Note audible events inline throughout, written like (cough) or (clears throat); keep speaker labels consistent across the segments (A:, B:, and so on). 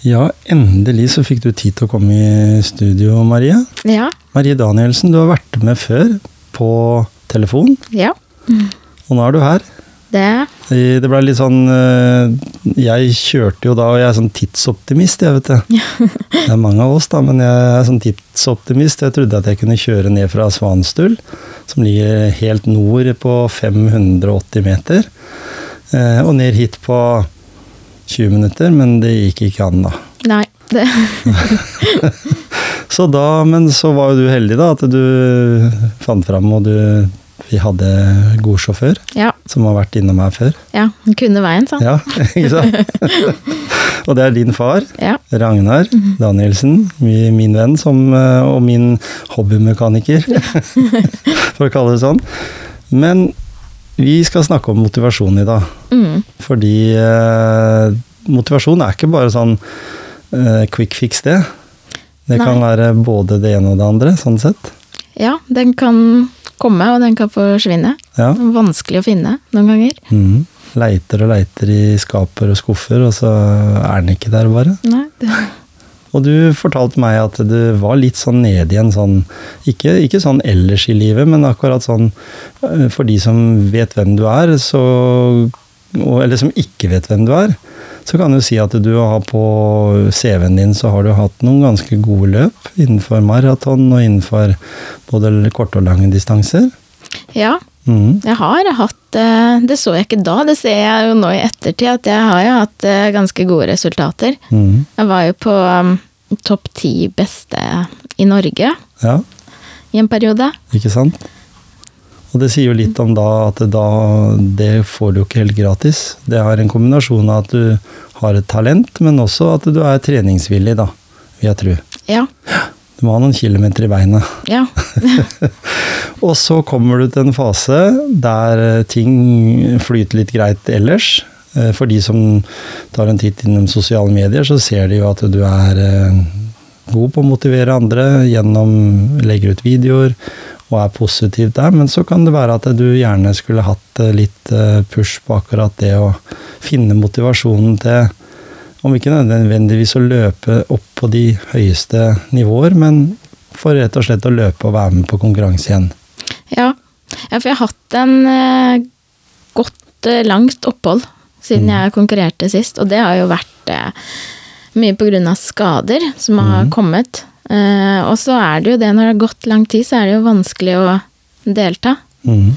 A: Ja, endelig så fikk du tid til å komme i studio, Marie.
B: Ja.
A: Marie Danielsen, du har vært med før på telefon,
B: ja.
A: og nå er du her.
B: Det
A: Det ble litt sånn eh, Jeg kjørte jo da, og jeg er sånn tidsoptimist, jeg, vet du. Det er mange av oss, da, men jeg er sånn tidsoptimist. Jeg trodde at jeg kunne kjøre ned fra Svanstul, som ligger helt nord på 580 meter, eh, og ned hit på 20 minutter, men det gikk ikke an, da.
B: Nei. Det,
A: Så da, men så var jo du heldig da, at du fant fram, og du, vi hadde god sjåfør,
B: ja.
A: som har vært innom her før.
B: ja. Den kunne veien, sant?
A: Ja, (laughs) ikke sant? og det er din far,
B: Ja.
A: Ragnar Danielsen, mi- min venn som, eh, og min hobbymekaniker, (laughs) for å kalle det sånn. Men vi skal snakke om motivasjon i dag,
B: Mm.
A: fordi eh, motivasjon er ikke bare sånn eh, quick fix det. Det kan være både det ene og det andre, sånn sett.
B: ja. Den kan komme, og den kan forsvinne.
A: Ja.
B: Den er vanskelig å finne noen ganger.
A: Mhm. Leiter og leiter i skaper og skuffer, og så er den ikke der bare.
B: Nei. Det,
A: Og du fortalte meg at du var litt sånn nede i en sånn ikke, ikke sånn ellers i livet, men akkurat sånn eh, For de som vet hvem du er, så og, Eller som ikke vet hvem du er, så kan du si at du har på CV-en din så har du hatt noen ganske gode løp innenfor maraton og innenfor både korte og lange distanser.
B: ja.
A: Mhm.
B: Jeg har hatt eh, Det så jeg ikke da, det ser jeg jo nå i ettertid, at jeg har jo hatt eh, ganske gode resultater.
A: Mhm.
B: Jeg var jo på um, topp ti beste i Norge
A: Ja,
B: i en periode.
A: ikke sant? Og det sier jo litt om da at det da, det får du ikke helt gratis. Det er en kombinasjon av at du har et talent, men også at du er treningsvillig, da, vil jeg tro.
B: Ja.
A: Du må ha noen kilometer i beinet.
B: Ja.
A: Og så kommer du til en fase der eh, ting flyter litt greit ellers. Eh, For de som tar en titt innom sosiale medier, så ser de jo at du er eh, god på å motivere andre gjennom legger ut videoer og er positiv der, men så kan det være at du gjerne skulle hatt eh, litt eh, push på akkurat det å finne motivasjonen til om ikke nødvendigvis å løpe opp på de høyeste nivåer, men for rett og slett å løpe og være med på konkurranse igjen.
B: Ja, ja for jeg har hatt en eh, godt eh, langt opphold siden jeg konkurrerte sist, og det har jo vært eh, mye på grunn av skader som har kommet. Eh, og så er det jo det, når det har gått lang tid, så er det jo vanskelig å delta.
A: Mhm.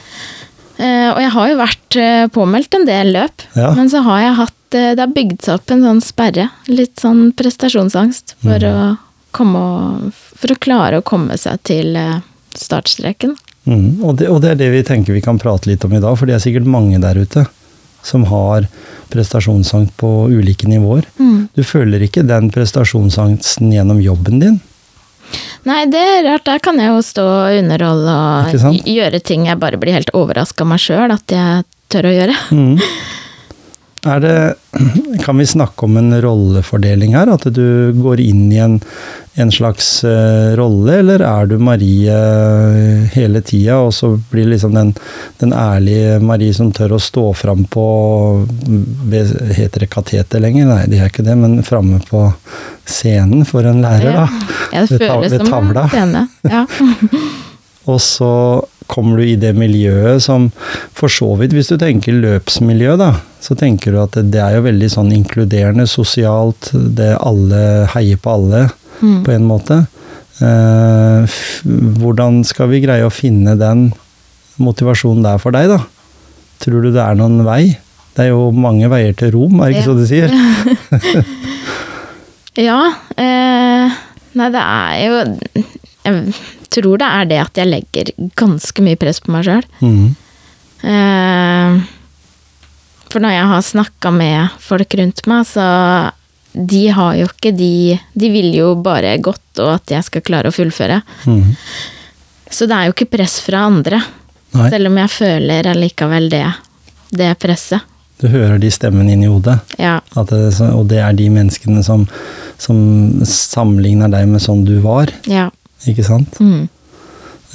B: Eh, og jeg har jo vært eh, påmeldt en del løp,
A: Ja.
B: men så har jeg hatt eh, Det har bygd seg opp en sånn sperre, litt sånn prestasjonsangst, for, å, komme og, for å klare å komme seg til eh, startstreken.
A: Mhm. Og, det, og det er det vi tenker vi kan prate litt om i dag, for det er sikkert mange der ute som har prestasjonsangst på ulike nivåer. Du føler ikke den prestasjonsangsten gjennom jobben din.
B: Nei, det er rart. Der kan jeg jo stå og underholde og
A: Ikke sant?
B: gj- gjøre ting jeg bare blir helt overraska av meg sjøl at jeg tør å
A: (laughs)
B: gjøre.
A: Mhm. Er det, kan vi snakke om en rollefordeling her? At du går inn i en, en slags eh, rolle, eller er du Marie eh, hele tida, og så blir liksom den, den ærlige Marie som tør å stå fram på ved- Heter det kateter lenger? Nei, det er ikke det, men framme på scenen for en lærer, da.
B: Jeg
A: Ved ta-
B: føles
A: ved
B: som en
A: tavla.
B: scene.
A: (laughs)
B: Ja.
A: Og så kommer du i det miljøet som for så vidt, hvis du tenker løpsmiljø, da, så tenker du at det, det er jo veldig sånn inkluderende, sosialt, det alle heier på alle,
B: Mm.
A: på en måte. Eh, f- hvordan skal vi greie å finne den motivasjonen der for deg, da? Tror du det er noen vei? Det er jo mange veier til Rom, er det ikke
B: Ja.
A: så de
B: (laughs)
A: sier?
B: ja eh, nei, det er jo Jeg tror det er det at jeg legger ganske mye press på meg sjøl.
A: Mhm.
B: Eh, For når jeg har snakka med folk rundt meg, så de har jo ikke de De vil jo bare godt, og at jeg skal klare å fullføre.
A: Mhm.
B: Så det er jo ikke press fra andre.
A: Nei,
B: Selv om jeg føler allikevel det, det presset.
A: du hører de stemmene inn i hodet.
B: Ja.
A: At det, så- og det er de menneskene som, som sammenligner deg med sånn du var,
B: ja.
A: ikke sant?
B: Mm.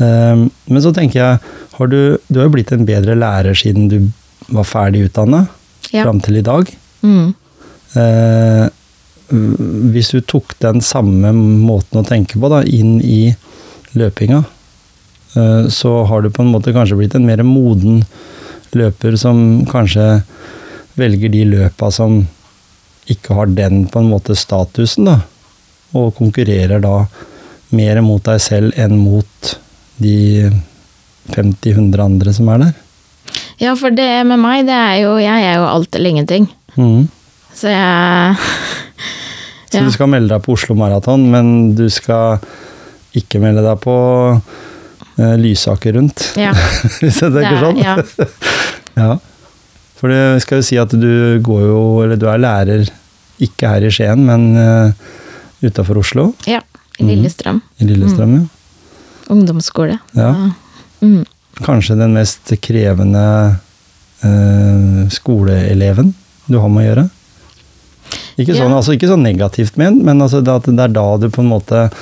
A: Ehm, men så tenker jeg, har du, du har jo blitt en bedre lærer siden du var ferdig utdannet,
B: Ja.
A: fram til i dag.
B: Mm.
A: Eh, øh, Hvis du tok den samme måten å tenke på da, inn i løpinga, øh, så har du på en måte kanskje blitt en mer moden løper som kanskje velger de løpa som ikke har den på en måte statusen, da. Og konkurrerer da mer mot deg selv enn mot de 50-100 andre som er der.
B: Ja, for det med meg, det er jo Jeg er jo alt eller ingenting.
A: Mhm.
B: Så jeg
A: (laughs) Så
B: Ja.
A: du skal melde deg på Oslo Maraton, men du skal ikke melde deg på eh, Lysaker rundt,
B: Ja.
A: (laughs) hvis jeg tenker sånn.
B: ja.
A: Ja. For det skal jo si at du går jo, eller du er lærer, ikke her i Skien, men uh, utafor Oslo,
B: ja. I
A: Mhm.
B: Lillestrøm.
A: i Lillestrøm, ja.
B: Ungdomsskole.
A: Ja.
B: Mm.
A: Kanskje den mest krevende eh, skoleeleven du har med å gjøre. Ikke
B: Ja.
A: sånn, altså, ikke sånn negativt ment, men altså, det, at det er da du på en måte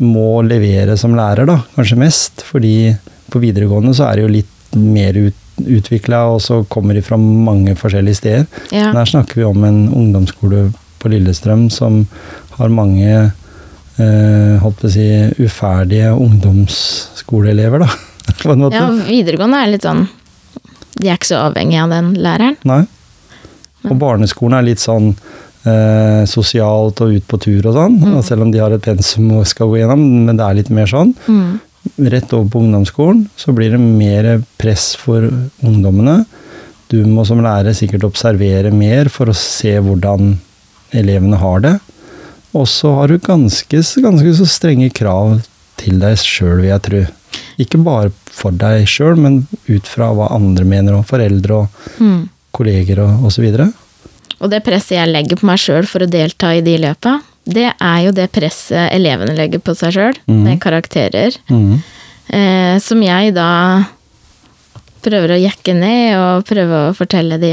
A: må levere som lærer, da, kanskje mest. Fordi på videregående så er det jo litt mer ut, utvikla, og så kommer de fra mange forskjellige steder. Men
B: Ja.
A: Her snakker vi om en ungdomsskole på Lillestrøm som har mange eh, holdt på å si, uferdige ungdomsskoleelever, da. (laughs) På en måte.
B: ja, videregående er litt sånn De er ikke så avhengig av den læreren.
A: Nei. Og barneskolen er litt sånn eh, sosialt og ut på tur og sånn, og selv om de har et pensum og skal gå gjennom, men det er litt mer sånn.
B: Mm.
A: Rett over på ungdomsskolen så blir det mer press for ungdommene. Du må som lærer sikkert observere mer for å se hvordan elevene har det. Og så har du ganske, ganske så strenge krav til deg sjøl, vil jeg tro. Ikke bare for deg sjøl, men ut fra hva andre mener, og foreldre og
B: Mm.
A: kolleger og osv.
B: Og det presset jeg legger på meg sjøl for å delta i de løpa, det er jo det presset elevene legger på seg sjøl, med karakterer,
A: Mm.
B: eh, som jeg da prøver å jekke ned og prøve å fortelle de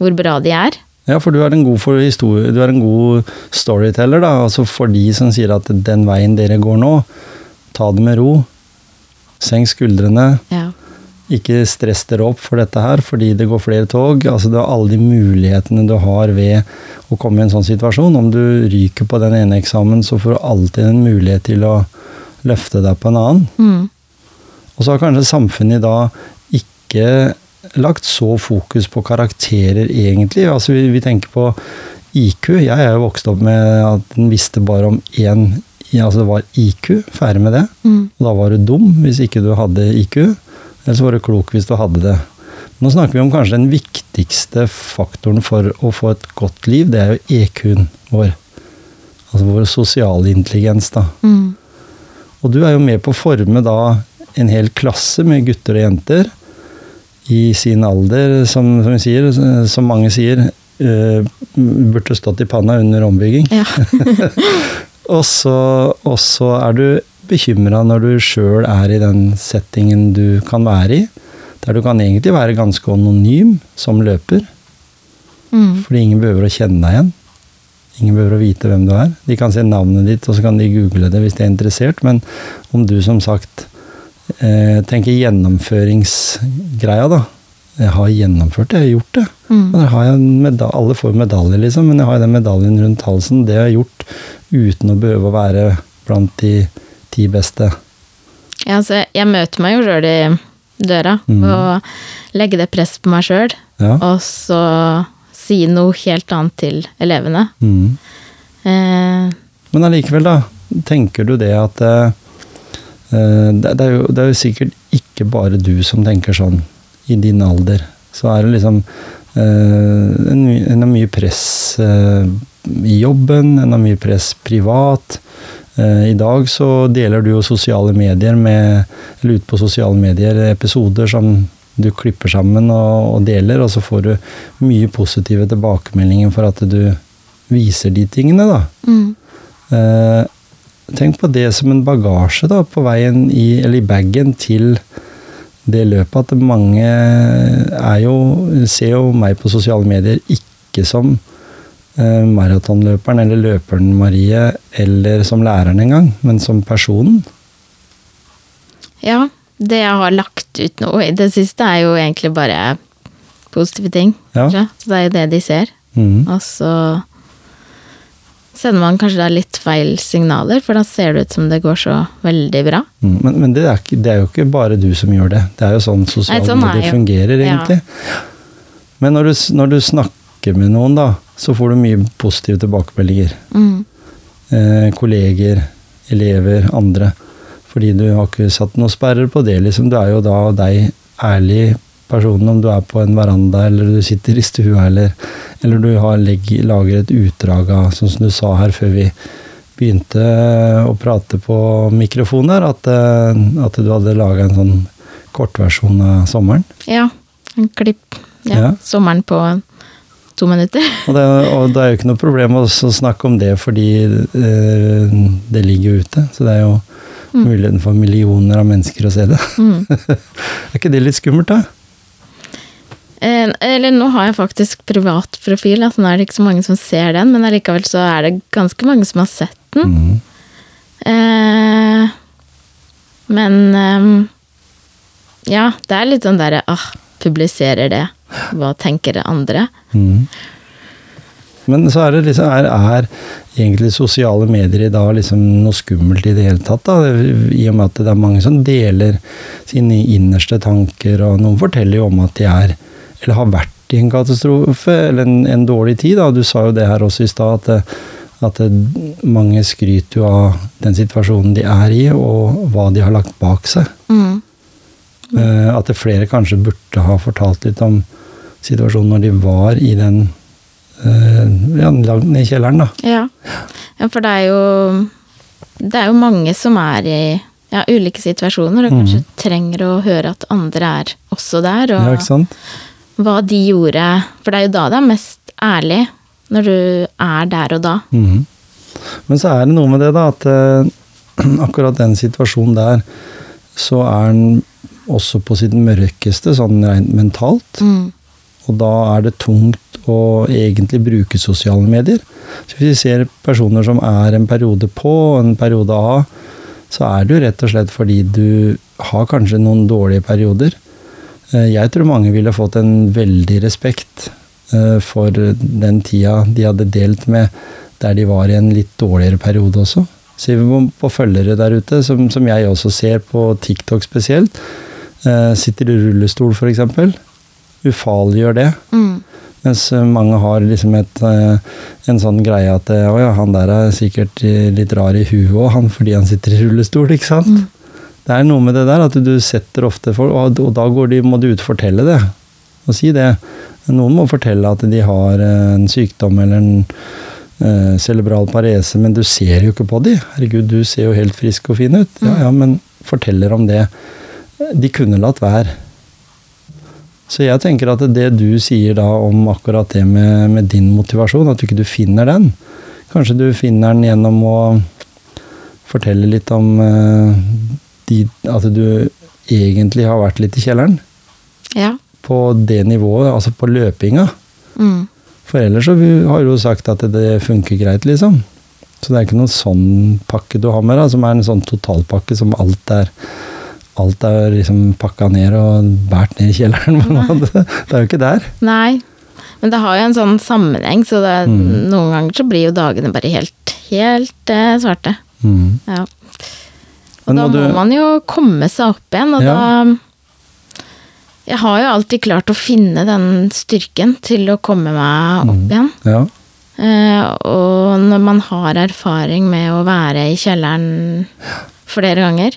B: hvor bra de er.
A: Ja, for du er en god, for historie, du er en god storyteller, da. Altså for de som sier at den veien dere går nå, ta det med ro. Senk skuldrene.
B: Ja.
A: Ikke stress dere opp for dette her, fordi det går flere tog. Altså det er alle de mulighetene du har ved å komme i en sånn situasjon. Om du ryker på den ene eksamen, så får du alltid en mulighet til å løfte deg på en annen.
B: Mm.
A: Og så har kanskje samfunnet i dag ikke lagt så fokus på karakterer, egentlig. Altså vi, vi tenker på IQ. Jeg er jo vokst opp med at en visste bare om én ja, Altså det var IQ. Ferdig med det.
B: Mm.
A: Og da var du dum hvis ikke du hadde IQ. Eller så var du klok hvis du hadde det. Nå snakker vi om kanskje den viktigste faktoren for å få et godt liv, det er jo EQ-en vår. Altså vår sosiale intelligens, da.
B: Mm.
A: Og du er jo med på å forme da en hel klasse med gutter og jenter i sin alder, som, som, vi sier, eh, som mange sier, eh, burde stått i panna under ombygging.
B: Ja.
A: Og så, og så er du bekymra når du sjøl er i den settingen du kan være i, der du kan egentlig være ganske anonym som løper.
B: Mm.
A: Fordi ingen behøver å kjenne deg igjen. Ingen behøver å vite hvem du er. De kan se navnet ditt, og så kan de google det hvis de er interessert, men om du som sagt eh, tenker gjennomføringsgreia, da. Jeg har gjennomført det, jeg har gjort det.
B: Mm.
A: Og der har jeg en meda Alle får medalje, liksom, men jeg har jo den medaljen rundt halsen. Det har jeg gjort uten å behøve å være blant de ti beste.
B: ja, så jeg møter meg jo sjøl i døra og legger det presset på meg sjøl,
A: Ja.
B: og så si noe helt annet til elevene.
A: Mm.
B: Eh,
A: Men allikevel, da. Tenker du det at eh, eh, det, det, er jo, det er jo sikkert ikke bare du som tenker sånn i din alder. Så er det liksom eh, en, my- en har mye press eh, i jobben, en har mye press privat. Eh, I dag så deler du jo sosiale medier med, eller ut på sosiale medier episoder som du klipper sammen og, og deler, og så får du mye positive tilbakemeldinger for at du viser de tingene, da.
B: mm.
A: Eh, tenk på det som en bagasje da, på veien i, eller i bagen til det løpet. At mange er jo, ser jo meg på sosiale medier ikke som eh, maratonløperen eller løperen Marie, eller som læreren engang, men som personen.
B: Ja, det jeg har lagt ut nå i det siste, er jo egentlig bare positive ting.
A: Ja. Mm.
B: kanskje. Så det er jo det de ser.
A: Mhm.
B: Og så sender man kanskje da litt feil signaler, for da ser det ut som det går så veldig bra.
A: Mm, Men, men det, er, ikke- det er jo ikke bare du som gjør det. Det er jo sånn sosiale
B: Nei, sånn er
A: medier
B: jo.
A: fungerer,
B: Ja.
A: egentlig. Men når du, s- når du snakker med noen, da, så får du mye positive tilbakemeldinger.
B: Mm.
A: Eh, kolleger, elever, andre. Fordi du har ikke satt noen sperrer på det. liksom. Du er jo da deg ærlig personen om du er på en veranda eller du sitter i stua eller, eller du har legg, lager et utdrag av, sånn som du sa her før vi begynte eh, å prate på mikrofonen her, at, eh, at du hadde laga en sånn kortversjon av sommeren.
B: Ja. En klipp. Ja.
A: Ja.
B: Sommeren på to minutter. (laughs)
A: Og det, og det er jo ikke noe problem å s- snakke om det, fordi eh, det ligger jo ute. Så det er jo muligheten for millioner av mennesker å se det.
B: Mm.
A: (laughs) er ikke det litt skummelt, da?
B: Eh, Eller nå har jeg faktisk privat profil, altså nå er det ikke så mange som ser den, men allikevel så er det ganske mange som har sett den.
A: Mm.
B: Eh, men ehm, ja, det er litt sånn derre ah, publiserer det, hva tenker det andre?
A: Mm. Men så er det liksom er, er egentlig sosiale medier i dag liksom noe skummelt i det hele tatt? da, I og med at det er mange som deler sine innerste tanker, og noen forteller jo om at de er eller har vært i en katastrofe eller en, en dårlig tid. da, Du sa jo det her også i stad, at, det- at det, mange skryter jo av den situasjonen de er i, og hva de har lagt bak seg.
B: Mm.
A: Eh, At det flere kanskje burde ha fortalt litt om situasjonen når de var i den eh, ja, langt ned i kjelleren, da.
B: Ja. ja, for det er jo Det er jo mange som er i ja, ulike situasjoner,
A: Mm.
B: og kanskje trenger å høre at andre er også der. Og,
A: Ja, ikke sant?
B: hva de gjorde For det er jo da det er mest ærlig, når du er der og da.
A: Mhm. Men så er det noe med det, da, at eh, (clears throat) akkurat den situasjonen der, så er den også på sitt mørkeste, sånn rent mentalt.
B: Mm.
A: Og da er det tungt å egentlig bruke sosiale medier. Så hvis vi ser personer som er en periode på og en periode av, så er det jo rett og slett fordi du har kanskje noen dårlige perioder. Eh, Jeg tror mange ville fått en veldig respekt eh, for den tida de hadde delt med der de var i en litt dårligere periode også. Ser vi på- på følgere der ute, som, som jeg også ser på TikTok spesielt, eh, sitter i rullestol f.eks. Ufarliggjør det.
B: Mm.
A: Mens eh, mange har liksom et, eh, en sånn greie at eh, å ja, han der er sikkert eh, litt rar i huet òg, han fordi han sitter i rullestol, ikke sant? Det er noe med det der at du setter ofte folk, og, og da går de, må du ut og fortelle det. Og si det. Noen må fortelle at de har eh, en sykdom eller en eh, cerebral parese, men du ser jo ikke på de. Herregud, du ser jo helt frisk og fin ut. Ja, ja, men forteller om det. De kunne latt være. Så jeg tenker at det du sier da om akkurat det med, med din motivasjon, at du ikke du finner den Kanskje du finner den gjennom å fortelle litt om eh, de, at du egentlig har vært litt i kjelleren.
B: Ja.
A: På det nivået, altså på løpinga.
B: Mm.
A: For ellers så vi- har du jo sagt at det funker greit, liksom. Så det er ikke noen sånn pakke du har med deg, som er en sånn totalpakke som alt er Alt er liksom pakka ned og båret ned i kjelleren. (laughs) Men det, det er jo ikke der.
B: Nei. Men det har jo en sånn sammenheng, så det,
A: Mm.
B: noen ganger så blir jo dagene bare helt, helt eh, svarte.
A: Mm.
B: Ja. Og
A: Men
B: da
A: må
B: må
A: du-
B: man jo komme seg opp igjen, og
A: Ja.
B: da Jeg har jo alltid klart å finne den styrken til å komme meg
A: Mm.
B: opp igjen.
A: Ja.
B: Eh, og når man har erfaring med å være i kjelleren flere ganger,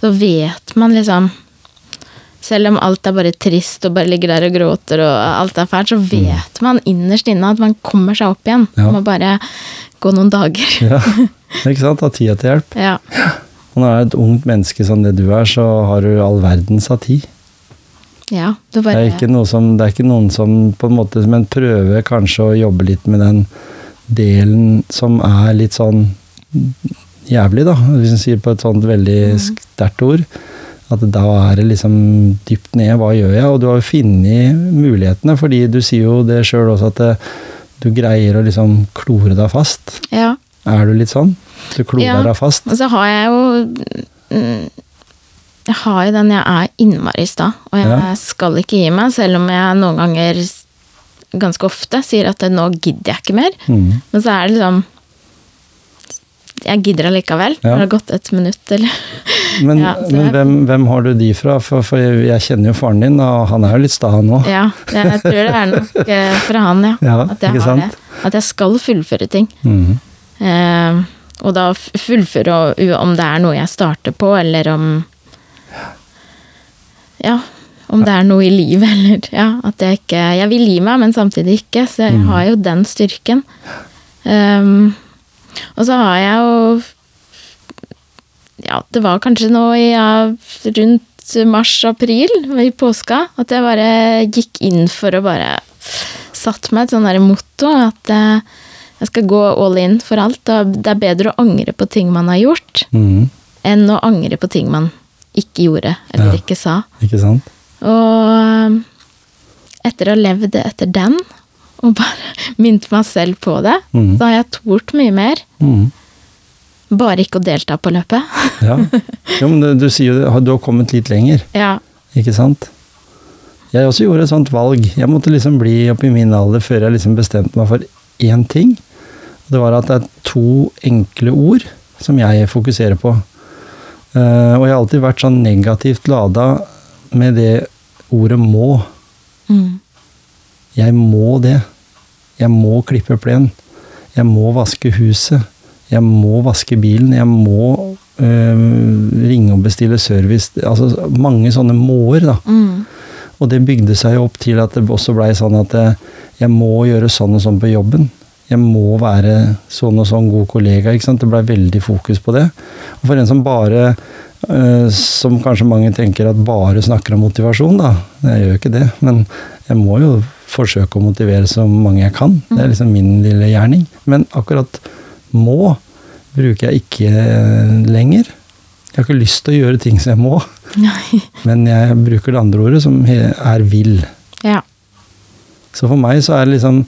B: så vet man liksom Selv om alt er bare trist og bare ligger der og gråter og alt er fælt, så vet man innerst inne at man kommer seg opp igjen.
A: Mm. Ja.
B: Man må bare gå noen dager.
A: ja. Ikke sant? Ha tida til hjelp.
B: Ja.
A: Og når du er et ungt menneske som det du er, så har du all verdens av tid.
B: ja du
A: Det
B: bare,
A: er, ikke noe som, det er ikke noen som på en måte Men prøver kanskje å jobbe litt med den delen som er litt sånn jævlig, da. Hvis en sier på et sånt veldig sterkt ord. At da er det liksom dypt ned. Hva gjør jeg? Og du har jo funnet mulighetene, fordi du sier jo det sjøl også at eh, du greier å liksom klore deg fast.
B: ja.
A: Er du litt sånn? Du klorer
B: Ja.
A: deg fast?
B: Og så har jeg jo mm, Jeg har jo den jeg er innmari sta, og jeg
A: Ja.
B: skal ikke gi meg, selv om jeg noen ganger, ganske ofte, sier at nå gidder jeg ikke mer.
A: Mm.
B: Men så er det liksom jeg gidder allikevel.
A: Ja.
B: Har det gått et minutt,
A: (laughs)
B: eller?
A: Men,
B: Ja, så
A: men
B: jeg-
A: hvem, hvem har du de fra? For, for jeg, jeg kjenner jo faren din, og han er jo litt sta nå.
B: Ja, det, jeg tror det er nok eh, fra han, ja.
A: Ja,
B: at jeg
A: ikke
B: har
A: sant?
B: det. At jeg skal fullføre ting.
A: Mhm.
B: Eh, og da f- fullføre og- u- om det er noe jeg starter på, eller om Ja, om det er noe i livet, (laughs) eller Ja, at jeg ikke Jeg vil gi meg, men samtidig ikke, så jeg har jo den styrken. Ehm, og så har jeg jo Ja, det var kanskje nå i ja, rundt mars-april, i påska, at jeg bare gikk inn for å bare satt meg et sånn der motto at eh, jeg skal gå all in for alt. Og det er bedre å angre på ting man har gjort,
A: Mhm.
B: enn å angre på ting man ikke gjorde eller
A: Ja.
B: ikke sa.
A: Ikke sant?
B: Og eh, etter å ha levd etter den, og bare (laughs) minnet meg selv på det,
A: Mhm.
B: så har jeg tort mye mer.
A: Mhm.
B: Bare ikke å delta på løpet. (laughs)
A: Ja. Jo, men du, du sier jo det, du har kommet litt lenger,
B: ja.
A: ikke sant? Jeg også gjorde et sånt valg. Jeg måtte liksom bli opp i min alder før jeg liksom bestemte meg for én ting. Det var at det er to enkle ord som jeg fokuserer på. Eh, og jeg har alltid vært sånn negativt lada med det ordet må.
B: Mm.
A: Jeg må det. Jeg må klippe plen. Jeg må vaske huset. Jeg må vaske bilen. Jeg må øh, ringe og bestille service. Altså mange sånne må-er, da.
B: Mm.
A: Og det bygde seg jo opp til at det også blei sånn at eh, jeg må gjøre sånn og sånn på jobben. Jeg må være sånn og sånn god kollega. ikke sant? Det blei veldig fokus på det. Og for en som bare eh, Som kanskje mange tenker at bare snakker om motivasjon, da. Jeg gjør jo ikke det, men jeg må jo forsøke å motivere så mange jeg kan. Det er liksom min lille gjerning. Men akkurat må bruker jeg ikke eh, lenger. Jeg har ikke lyst til å gjøre ting som jeg må.
B: (laughs) Nei.
A: Men jeg bruker det andre ordet, som he- er vil.
B: Ja.
A: Så for meg så er det liksom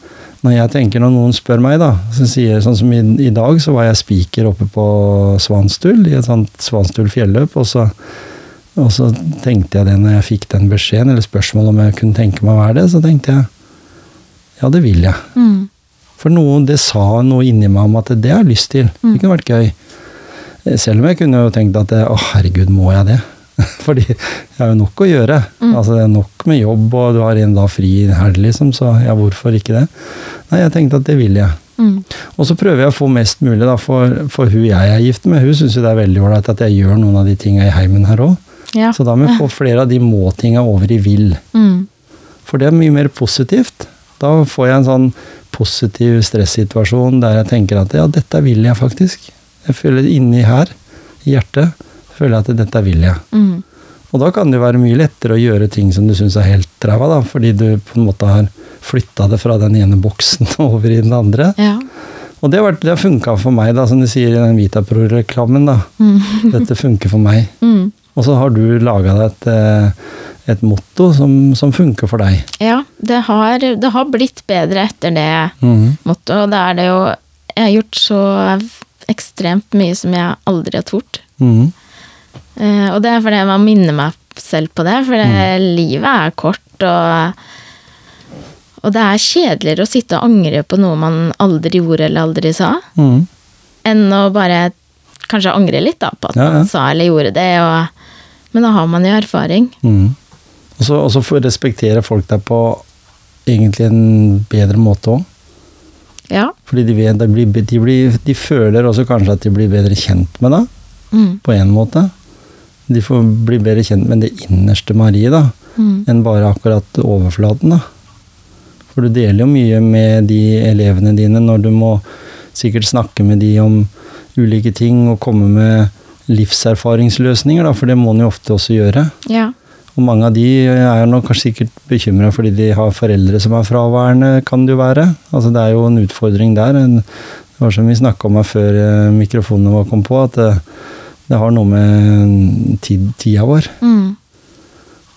A: Når jeg tenker, når noen spør meg, da så sier jeg Sånn som i, i dag, så var jeg spiker oppe på Svanstul, i et sånt Svanstul fjelløp, og så og så tenkte jeg det når jeg fikk den beskjeden, eller spørsmålet om jeg kunne tenke meg å være det, så tenkte jeg ja, det vil jeg.
B: Mm.
A: For noe, det sa noe inni meg om at det har jeg lyst til. Det kunne vært gøy. Eh, Selv om jeg kunne jo tenkt at eh, å herregud, må jeg det? (laughs) Fordi jeg har jo nok å gjøre. Altså Det er nok med jobb, og du har en dag fri i en helg, liksom, så ja, hvorfor ikke det? Nei, jeg tenkte at det vil jeg.
B: Mm.
A: Og så prøver jeg å få mest mulig, da, for, for hun jeg er gift med, hun syns jo det er veldig ålreit at jeg gjør noen av de tinga i heimen her òg.
B: Ja.
A: Så da må jeg få flere av de må-tinga over i vil.
B: Mm.
A: For det er mye mer positivt. Da får jeg en sånn positiv stressituasjon der jeg tenker at ja, dette vil jeg faktisk. Jeg føler inni her, i hjertet, føler jeg at dette vil jeg.
B: Mm.
A: Og da kan det jo være mye lettere å gjøre ting som du syns er helt ræva, da, fordi du på en måte har flytta det fra den ene boksen (laughs) over i den andre.
B: Ja.
A: Og det har, vært- det har funka for meg, da, som de sier i den Vitapro-reklamen. da. Dette funker for meg.
B: Mm.
A: Og så har du laga deg et, eh, et motto som, som funker for deg.
B: Ja, det har, det har blitt bedre etter det
A: Mhm.
B: mottoet. Og da er det jo Jeg har gjort så ekstremt mye som jeg aldri har tort.
A: Mhm.
B: Eh, og det er fordi man minner meg selv på det, for det, livet er kort, og og det er kjedeligere å sitte og angre på noe man aldri gjorde eller aldri sa,
A: Mhm.
B: enn å bare kanskje angre litt da, på at
A: Ja, ja.
B: man sa eller gjorde det. Og, men da har man jo erfaring.
A: Mhm. Og så- Og så får- respekterer folk deg på egentlig en bedre måte òg.
B: Ja.
A: Fordi de, vet, de, blir, de, blir, de føler også kanskje at de blir bedre kjent med deg,
B: Mm,
A: på én måte. De får bli bedre kjent med det innerste Marie, da,
B: mm,
A: enn bare akkurat overflaten. da. For du deler jo mye med de elevene dine når du må sikkert snakke med de om ulike ting og komme med livserfaringsløsninger, da, for det må en jo ofte også gjøre.
B: ja.
A: Og mange av de er nok kanskje sikkert bekymra fordi de har foreldre som er fraværende, kan det jo være. Altså det er jo en utfordring der. En- Det var som vi snakka om her før eh, mikrofonene våre kom på, at det, det har noe med tid, tida vår.
B: Mm,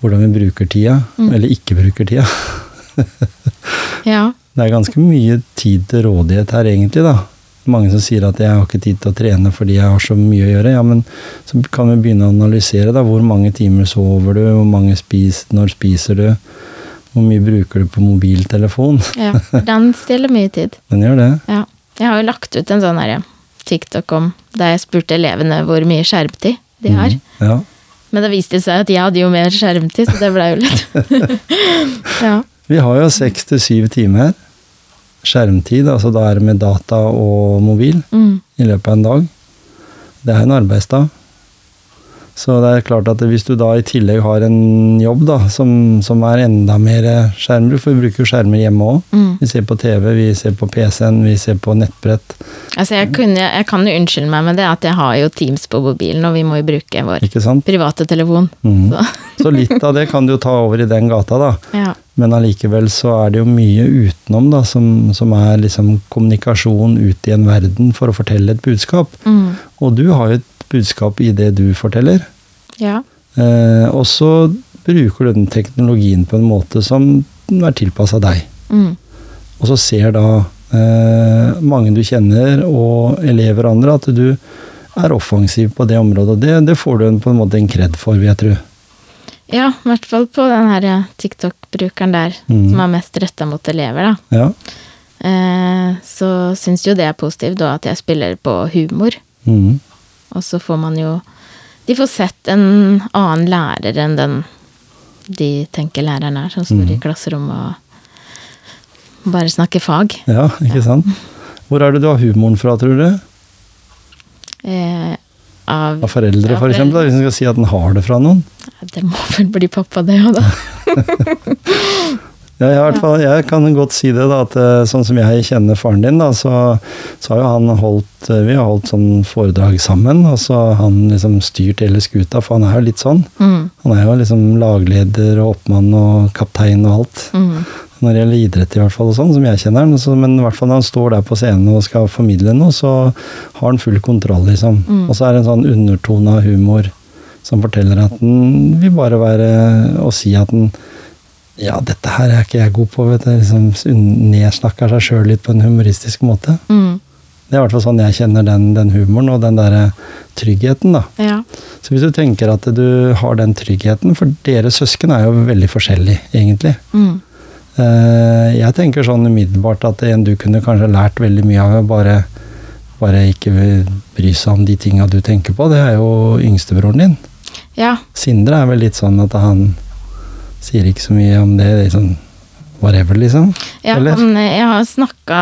A: Hvordan vi bruker tida, eller ikke bruker tida.
B: ja.
A: Det er ganske mye tid til rådighet her, egentlig, da. Mange som sier at 'jeg har ikke tid til å trene fordi jeg har så mye å gjøre'. Ja, men så kan vi begynne å analysere, da. Hvor mange timer sover du? Hvor mange spis, når spiser du? Hvor mye bruker du på mobiltelefon? (laughs)
B: Ja, den stiller mye tid.
A: Den gjør det.
B: Ja. Jeg har jo lagt ut en sånn herre TikTok om da jeg spurte elevene hvor mye skjermtid de har.
A: Mm. Ja.
B: Men det viste det seg at jeg hadde jo mer skjermtid, så det ble jo litt (laughs) Ja.
A: Vi har jo seks til syv timer skjermtid, altså da er det med data og mobil
B: Mm.
A: i løpet av en dag. Det er en arbeidsdag. Så det er klart at hvis du da i tillegg har en jobb da, som, som er enda mer skjermbruk, for vi bruker jo skjermer hjemme òg.
B: Mm.
A: Vi ser på TV, vi ser på PC-en, vi ser på nettbrett.
B: Altså, jeg, kunne, jeg kan jo unnskylde meg med det at jeg har jo Teams på mobilen, og vi må jo bruke vår
A: Ikke sant?
B: private telefon.
A: Mhm.
B: Så,
A: Så litt av det kan du jo ta over i den gata, da.
B: ja.
A: Men allikevel så er det jo mye utenom, da, som, som er liksom kommunikasjon ut i en verden for å fortelle et budskap.
B: Mm.
A: Og du har jo et budskap i det du forteller.
B: ja.
A: Eh, og så bruker du den teknologien på en måte som er tilpassa deg.
B: Mm.
A: Og så ser da eh, mange du kjenner, og elever og andre, at du er offensiv på det området. Og det, det får du en, på en måte en kred for, vil jeg tro.
B: Ja, i hvert fall på den her eh, TikTok-brukeren der,
A: Mm.
B: som er mest retta mot elever, da.
A: Ja.
B: Eh, så syns jo det er positivt, da, at jeg spiller på humor.
A: Mhm.
B: Og så får man jo De får sett en annen lærer enn den de tenker læreren er, som står i klasserommet og bare snakker fag.
A: ja, ikke sant? Hvor er det du har humoren fra, tror du?
B: Eh, av
A: Av foreldre,
B: Ja,
A: for eksempel, da, hvis en skal si at en har det fra noen?
B: Det må vel bli pappa, det òg, da.
A: Ja, jeg, i hvert fall, jeg kan godt si det, da, at eh, sånn som jeg kjenner faren din, da, så, så har jo han holdt eh, Vi har holdt sånn foredrag sammen, og så har han liksom styrt hele skuta, for han er jo litt sånn.
B: Mm,
A: Han er jo liksom lagleder og oppmann og kaptein og alt.
B: mm,
A: Når det gjelder idrett, i hvert fall, og sånn, som jeg kjenner han. Så, men i hvert fall når han står der på scenen og skal formidle noe, så har han full kontroll, liksom.
B: Mm.
A: Og så er det en sånn undertone av humor som forteller at han vil bare være og si at han ja, dette her er ikke jeg god på, vet du. Liksom un- nedsnakker seg sjøl litt på en humoristisk måte.
B: mm,
A: Det er i hvert fall sånn jeg kjenner den, den humoren og den derre tryggheten, da.
B: ja.
A: Så hvis du tenker at du har den tryggheten, for dere søsken er jo veldig forskjellige, egentlig.
B: Mm,
A: Eh, Jeg tenker sånn umiddelbart at en du kunne kanskje lært veldig mye av, bare, bare ikke bry seg om de tinga du tenker på, det er jo yngstebroren din.
B: ja.
A: Sindre er vel litt sånn at han sier ikke så mye om det, det er sånn whatever, liksom.
B: Ja,
A: Eller?
B: han, eh, jeg har snakka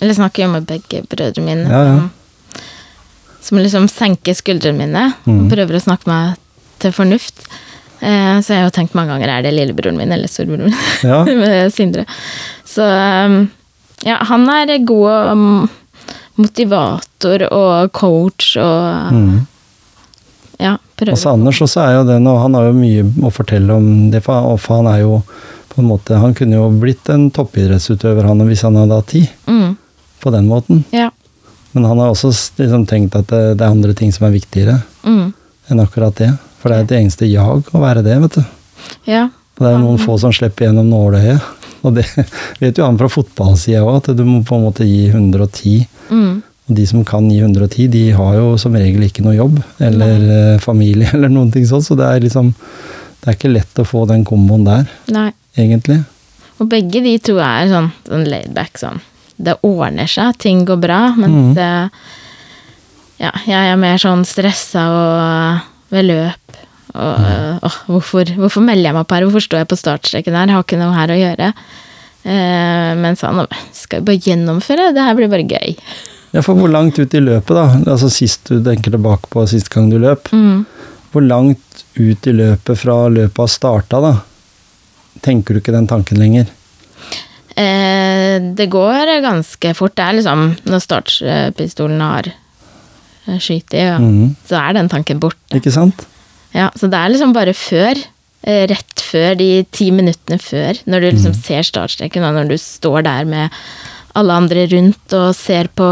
B: Eller snakker jo med begge brødrene mine.
A: Ja, ja.
B: Som, som liksom senker skuldrene mine
A: Mhm.
B: og prøver å snakke meg til fornuft. Eh, så jeg har jo tenkt mange ganger er det lillebroren min eller storebroren min
A: Ja.
B: (laughs) med Sindre. Så um, ja, han er god um, motivator og coach og
A: Mm.
B: ja, prøver.
A: Hos Anders også er jo den, og han har jo mye å fortelle om det, for han- for han er jo på en måte, han kunne jo blitt en toppidrettsutøver han, hvis han hadde hatt tid,
B: Mm,
A: på den måten.
B: ja.
A: Men han har også s- liksom tenkt at det, det er andre ting som er viktigere
B: Mm,
A: enn akkurat det. For det er et eneste jag å være det, vet du.
B: ja.
A: Og det er jo noen få som slipper gjennom nåløyet. Og det (laughs) vet jo han fra fotballsida òg, at du må på en måte gi 110.
B: Mm,
A: Og de som kan gi 110, de har jo som regel ikke noe jobb eller eh, familie (laughs) eller noen ting sånn, så det er liksom Det er ikke lett å få den komboen der,
B: nei.
A: egentlig.
B: Og begge de to er sånn, sånn laidback sånn. Det ordner seg, ting går bra, mens eh, ja, jeg er mer sånn stressa og eh, ved løp. Og eh, åh, hvorfor, hvorfor melder jeg meg opp her? Hvorfor står jeg på startstreken her? Jeg har ikke noe her å gjøre. Eh, mens han skal jo bare gjennomføre, det her blir bare gøy.
A: Ja, for hvor langt ut i løpet, da? Altså sist du tenker tilbake på sist gang du løp.
B: Mm.
A: Hvor langt ut i løpet fra løpet har starta, da? Tenker du ikke den tanken lenger?
B: Eh, det går ganske fort. Det er liksom når startpistolen har eh, skutt i, ja,
A: Mhm.
B: så er den tanken borte.
A: Ikke sant?
B: Ja, så det er liksom bare før. eh, Rett før de ti minuttene før, når du liksom ser startstreken, og når du står der med alle andre rundt og ser på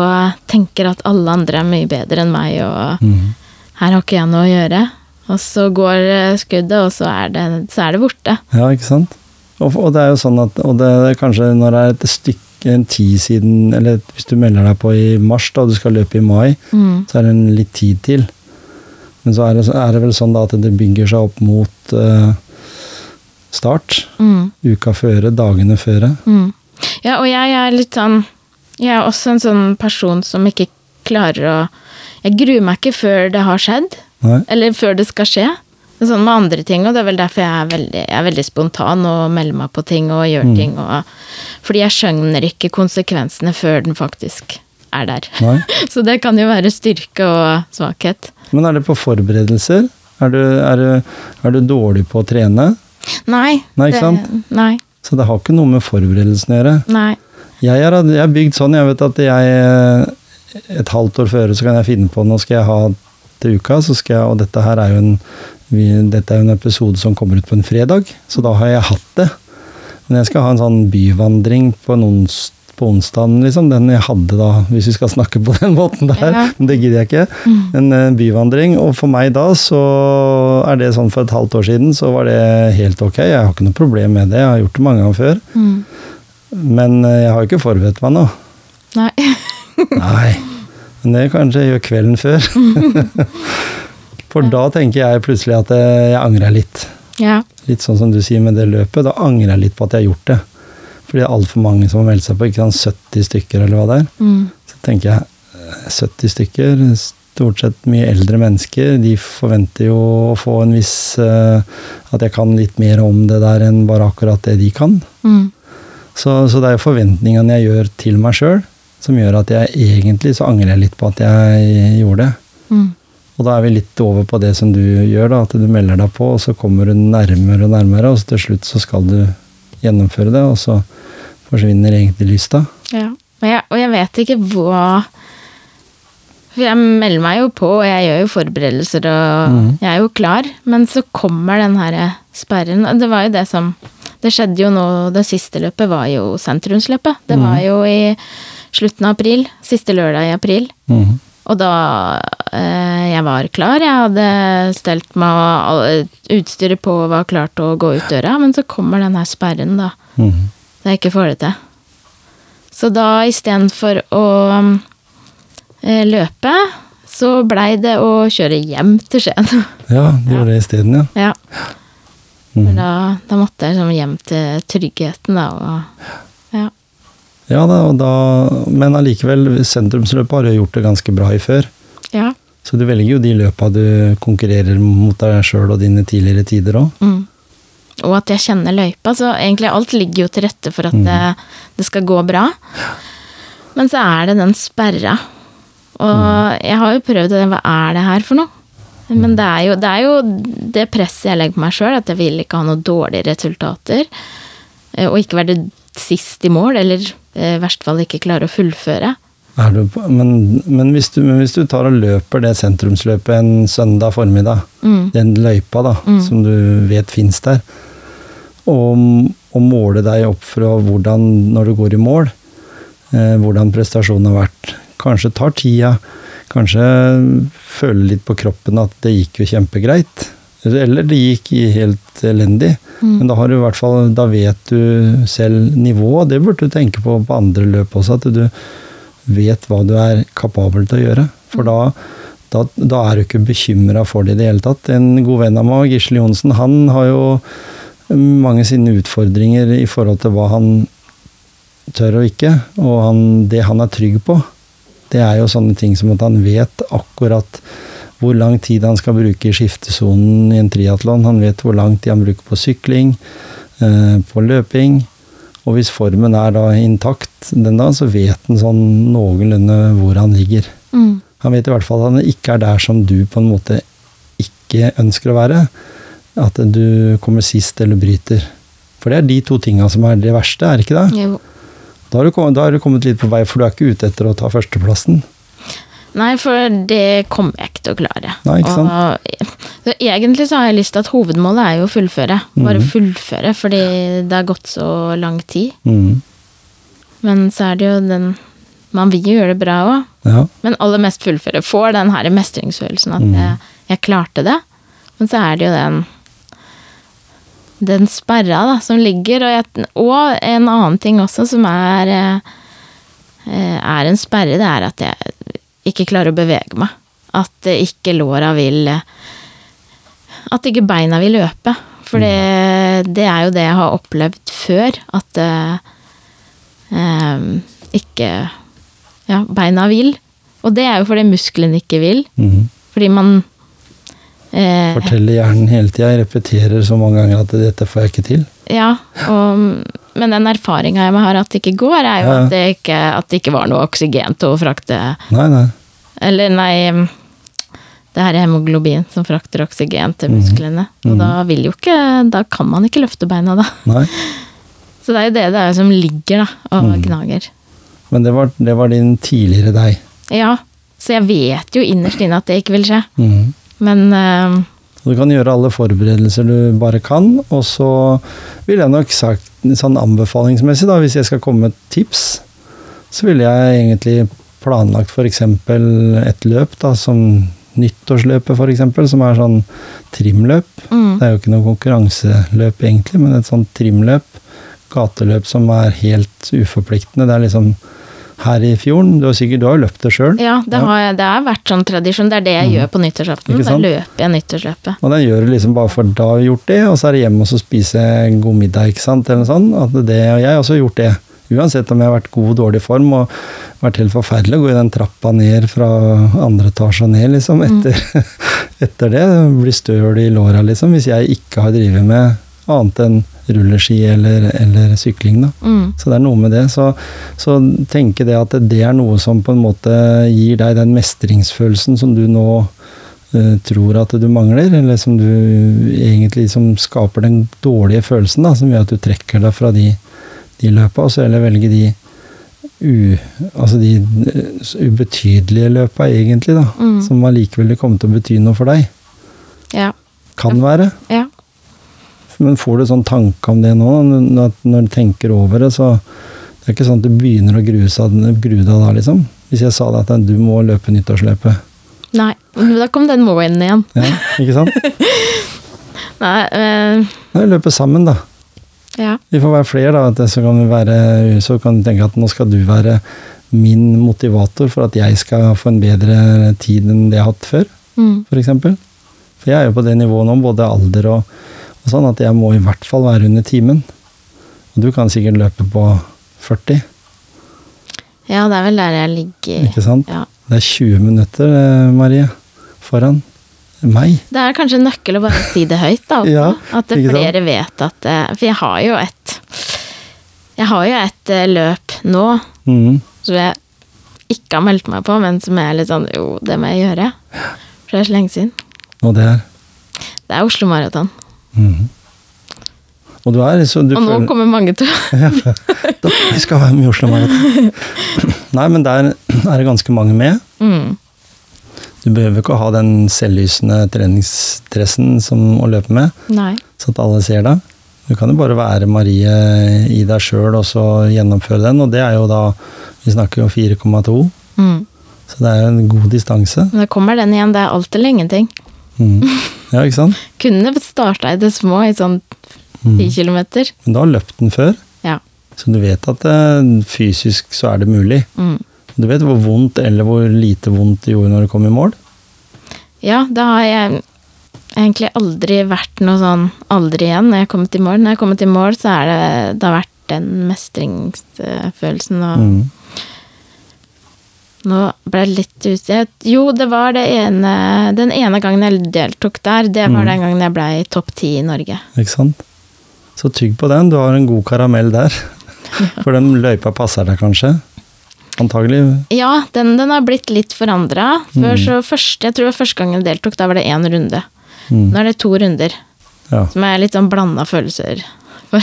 B: Tenker at alle andre er mye bedre enn meg, og
A: Mhm.
B: her har ikke jeg noe å gjøre. Og så går eh, skuddet, og så er det, så er det borte.
A: Ja, ikke sant? Og, og det er jo sånn at og det er kanskje når det er et stykke en tid siden, eller hvis du melder deg på i mars, da du skal løpe i mai,
B: Mm.
A: så er det en litt tid til. Men så er det, så er det vel sånn da at det bygger seg opp mot eh, start.
B: Mm.
A: Uka føre, dagene føre.
B: Mm. Ja, og jeg er litt sånn Jeg er også en sånn person som ikke klarer å Jeg gruer meg ikke før det har skjedd,
A: Nei.
B: eller før det skal skje. Men Sånn med andre ting, og det er vel derfor jeg er veldig, jeg er veldig spontan og melder meg på ting og
A: Mm.
B: gjør ting. Og, fordi jeg skjønner ikke konsekvensene før den faktisk er der. (laughs)
A: Nei.
B: Så det kan jo være styrke og svakhet.
A: Men er det på forberedelser? Er du, er, du, er du dårlig på å trene?
B: Nei.
A: Nei, ikke
B: det-
A: sant?
B: Nei.
A: Så det har ikke noe med forberedelsen å gjøre.
B: nei.
A: Jeg er, jeg er bygd sånn, jeg vet at jeg eh, et halvt år før så kan jeg finne på nå skal jeg ha til uka, så skal jeg, og dette her er jo en, vi, dette er jo en episode som kommer ut på en fredag, så da har jeg hatt det. Men jeg skal ha en sånn byvandring på, en ons, på onsdagen, liksom, den jeg hadde da, hvis vi skal snakke på den (laughs) måten der,
B: Ja.
A: men det gidder jeg ikke. En eh, byvandring, og for meg da så er det sånn for et halvt år siden, så var det helt ok, jeg har ikke noe problem med det, jeg har gjort det mange ganger før.
B: Mm.
A: Men eh, jeg har jo ikke forberedt meg nå.
B: Nei. (laughs)
A: Nei. Men det kanskje jeg gjør kvelden før. For da tenker jeg plutselig at eh, jeg angrer litt.
B: ja.
A: Litt sånn som du sier med det løpet. Da angrer jeg litt på at jeg har gjort det. Fordi det er altfor mange som har meldt seg på. Ikke sant, 70 stykker eller hva det er.
B: Mm.
A: Så tenker jeg eh, 70 stykker, stort sett mye eldre mennesker, de forventer jo å få en viss eh, At jeg kan litt mer om det der enn bare akkurat det de kan.
B: Mm.
A: Så, så det er jo forventningene jeg gjør til meg sjøl, som gjør at jeg egentlig så angrer jeg litt på at jeg gjorde det.
B: Mm.
A: Og da er vi litt over på det som du gjør, da, at du melder deg på, og så kommer du nærmere og nærmere, og så til slutt så skal du gjennomføre det, og så forsvinner egentlig lysta.
B: Ja. Og jeg, og jeg vet ikke hva For jeg melder meg jo på, og jeg gjør jo forberedelser, og jeg er jo klar. Men så kommer den her sperren. Og det var jo det som Det skjedde jo nå Det siste løpet var jo sentrumsløpet. Det var jo i slutten av april. Siste lørdag i april.
A: Mhm.
B: Og da eh, jeg var klar, jeg hadde stelt meg og all- utstyret på og var klar til å gå ut døra, men så kommer den her sperren, da.
A: Mhm.
B: Da jeg ikke får det til. Så da istedenfor å eh, løpe, så blei det å kjøre hjem til Skien. (laughs)
A: Ja, du gjorde det isteden, ja.
B: ja.
A: Mhm.
B: Da, da måtte jeg liksom hjem til tryggheten, da. Og, ja.
A: ja da, og da, men allikevel, sentrumsløpet har du gjort det ganske bra i før.
B: ja.
A: Så du velger jo de løpa du konkurrerer mot deg sjøl og dine tidligere tider òg.
B: Mm. Og at jeg kjenner løypa. Så egentlig alt ligger jo til rette for at det, det skal gå bra. Men så er det den sperra. Og jeg har jo prøvd det. Hva er det her for noe? Men det er jo det, er jo det presset jeg legger på meg sjøl, at jeg vil ikke ha noen dårlige resultater. eh, Og ikke være sist i mål, eller eh, i verste fall ikke klare å fullføre.
A: Er du på, men, men, hvis du, men hvis du tar og løper det sentrumsløpet en søndag formiddag,
B: Mm.
A: den løypa da, som du vet fins der, og, og måle deg opp fra hvordan, når du går i mål, eh, hvordan prestasjonen har vært. Kanskje tar tida, kanskje føler litt på kroppen at det gikk jo kjempegreit. Eller det gikk i helt elendig. Men da har du i hvert fall, da vet du selv nivået. Det burde du tenke på på andre løp også, at du vet hva du er kapabel til å gjøre. For da, da, da er du ikke bekymra for det i det hele tatt. En god venn av meg, Gisle Johnsen, han har jo mange sine utfordringer i forhold til hva han tør og ikke. Og han, det han er trygg på, det er jo sånne ting som at han vet akkurat hvor lang tid han skal bruke i skiftesonen i en triatlon. Han vet hvor lang tid han bruker på sykling, eh, på løping. Og hvis formen er da intakt den da, så vet han sånn noenlunde hvor han ligger.
B: Mm.
A: Han vet i hvert fall at han ikke er der som du på en måte ikke ønsker å være. At du kommer sist eller bryter. For det er de to tinga som er det verste, er det ikke det?
B: Jo.
A: Da har, du kommet, da har du kommet litt på vei, for du er ikke ute etter å ta førsteplassen.
B: Nei, for det kommer jeg ikke til å klare.
A: Nei, ikke
B: Og, så egentlig så har jeg lyst til at hovedmålet er jo å fullføre.
A: Mhm.
B: Bare fullføre, fordi det har gått så lang tid.
A: Mm.
B: Men så er det jo den Man vil jo gjøre det bra òg,
A: Ja.
B: men aller mest fullføre. Får den her mestringsfølelsen at jeg, jeg klarte det. Men så er det jo den den sperra da, som ligger, og, jeg, og en annen ting også som er, eh, eh, er en sperre, det er at jeg ikke klarer å bevege meg. At eh, ikke låra vil eh, At ikke beina vil løpe. For det, det er jo det jeg har opplevd før. At eh, eh, ikke ja, Ehm, beina vil. Og det er jo fordi musklene ikke vil.
A: Mhm.
B: Fordi man eh,
A: Forteller hjernen hele tida, repeterer så mange ganger at 'dette får jeg ikke til'.
B: Ja, og, men den erfaringa jeg har at det ikke går, er jo
A: Ja, ja.
B: at, det ikke, at det ikke var noe oksygen til å frakte
A: Nei, nei.
B: Eller nei um, Det her er hemoglobin som frakter oksygen til musklene. Og da vil jo ikke Da kan man ikke løfte beina, da.
A: nei.
B: Så det er jo det det er som ligger, da, og gnager.
A: Men det var, det var din tidligere deg.
B: Ja, så jeg vet jo innerst inne at det ikke vil skje.
A: Mhm.
B: Men um,
A: Så Du kan gjøre alle forberedelser du bare kan, og så ville jeg nok sagt sånn anbefalingsmessig, da, hvis jeg skal komme med et tips, så ville jeg egentlig planlagt f.eks. et løp, da, som nyttårsløpet f.eks., som er sånn trimløp.
B: mm,
A: Det er jo ikke noe konkurranseløp egentlig, men et sånt trimløp, gateløp som er helt uforpliktende. Det er liksom her i fjorden, du har sikkert du har jo løpt det sjøl,
B: ja, det, har jeg, det har vært sånn tradisjon. Det er det jeg gjør på nyttårsaften.
A: Mm. Ikke
B: Da
A: sant?
B: løper jeg nyttårsløpet.
A: og den gjør du liksom bare for da har vi gjort det, og så er det hjemme og så spise en god middag, ikke sant, eller noe sånt. At det, og jeg har også gjort det. Uansett om jeg har vært god og dårlig form, og vært helt forferdelig å gå i den trappa ned fra andre etasje og ned, liksom, etter, (laughs) etter det. Bli støl i låra, liksom, hvis jeg ikke har drevet med annet enn rulleski eller, eller sykling, da.
B: Mm,
A: Så det er noe med det. Så, så tenke det at det er noe som på en måte gir deg den mestringsfølelsen som du nå eh, tror at du mangler, eller som du egentlig som skaper den dårlige følelsen da, som gjør at du trekker deg fra de, de løpa, og så heller velge de U, altså de eh, ubetydelige løpa, egentlig, da.
B: Mm.
A: Som allikevel vil komme til å bety noe for deg.
B: ja,
A: Kan være.
B: ja.
A: Men får du sånn tanke om det nå, n- at når du tenker over det, så det er ikke sånn at du begynner å grue seg- grue deg da, liksom? Hvis jeg sa deg at du må løpe nyttårsløpet.
B: Nei. Men Da kom den må-en igjen.
A: Ja, ikke sant?
B: Nei, eh,
A: Nei, løpe sammen, da.
B: ja.
A: Vi får være flere, da. at Så kan, vi være, så kan du tenke at nå skal du være min motivator for at jeg skal få en bedre tid enn det jeg har hatt før,
B: Mm,
A: f.eks. For, eksempel. for jeg er jo på det nivået nå, både alder og, og sånn, at jeg må i hvert fall være under timen. Og du kan sikkert løpe på 40,
B: ja, det er vel der jeg ligger.
A: ikke sant?
B: Ja.
A: Det er 20 minutter, eh, Marie, foran meg.
B: Det er kanskje en nøkkel å bare si det høyt, da. også.
A: (laughs) Ja,
B: at det
A: ikke sant?
B: flere vet at eh, For jeg har jo et Jeg har jo et eh, løp nå
A: Mhm.
B: som jeg ikke har meldt meg på, men som er litt sånn Jo, det må jeg gjøre. For det er så lenge siden.
A: Og det er
B: Det er Oslo Maraton.
A: mhm. Og du er så du
B: Og nå
A: føler-
B: kommer mange til å
A: Da, Vi skal være med i Oslo Maraton.
B: (laughs)
A: Nei, men der er det ganske mange med.
B: mm,
A: Du behøver ikke å ha den selvlysende treningsdressen som å løpe med,
B: Nei.
A: så at alle ser deg. Du kan jo bare være Marie i deg sjøl og så gjennomføre den, og det er jo da Vi snakker jo 4,2,
B: Mm.
A: så det er jo en god distanse.
B: Men da kommer den igjen. Det er alt eller ingenting.
A: Mhm. Ja, ikke sant?
B: Kunne starta i det små, i sånn ti kilometer.
A: Men du har løpt den før,
B: Ja.
A: så du vet at eh, fysisk så er det mulig.
B: Mm.
A: Du vet hvor vondt eller hvor lite vondt det gjorde når du kom i mål?
B: Ja, da har jeg egentlig aldri vært noe sånn aldri igjen når jeg har kommet i mål. Når jeg har kommet i mål, så er det, det har vært den mestringsfølelsen. Og
A: Mm.
B: nå ble jeg litt ute. Jo, det var det ene, den ene gangen jeg deltok der. Det var den gangen jeg ble i topp ti i Norge.
A: Ikke sant? Så tygg på den. Du har en god karamell der. For den løypa passer deg kanskje? Antagelig.
B: Ja, den, den har blitt litt forandra. Jeg tror første gang jeg deltok, da var det én runde.
A: Mm.
B: Nå er det to runder,
A: Ja.
B: som er litt sånn blanda følelser. (laughs) For,